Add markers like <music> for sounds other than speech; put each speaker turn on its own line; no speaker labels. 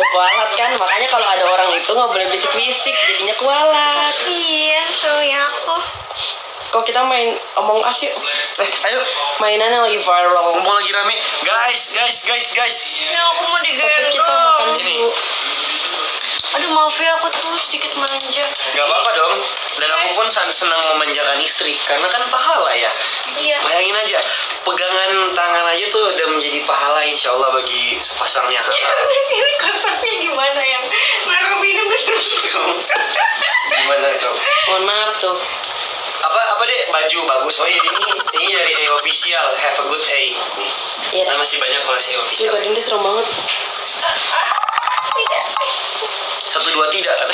kualat kan makanya kalau ada orang itu nggak boleh bisik-bisik jadinya kualat
Iya, serunya aku.
kok kita main omong asik
Eh, ayo,
mainan yang lagi viral
mumpung lagi rame. Guys, guys, guys, guys.
Ini aku mau
tapi kita makan
digendong.
Sini.
dulu
Aduh, maaf ya aku tuh sedikit manja.
Gak apa-apa dong. Dan aku pun san- senang memanjakan istri karena kan pahala ya.
Iya. <laughs>
Bayangin aja, pegangan tangan aja tuh udah menjadi pahala insya Allah bagi sepasang
<laughs>
nyata.
ini konsepnya gimana yang Naruh minum terus
Gimana tuh?
mohon maaf tuh
Apa apa deh baju bagus. Oh iya ini ini dari A official. Have a good day. Nih.
Iya.
Nah, masih banyak koleksi
Ini
official.
badan dia serem banget
Satu dua tidak.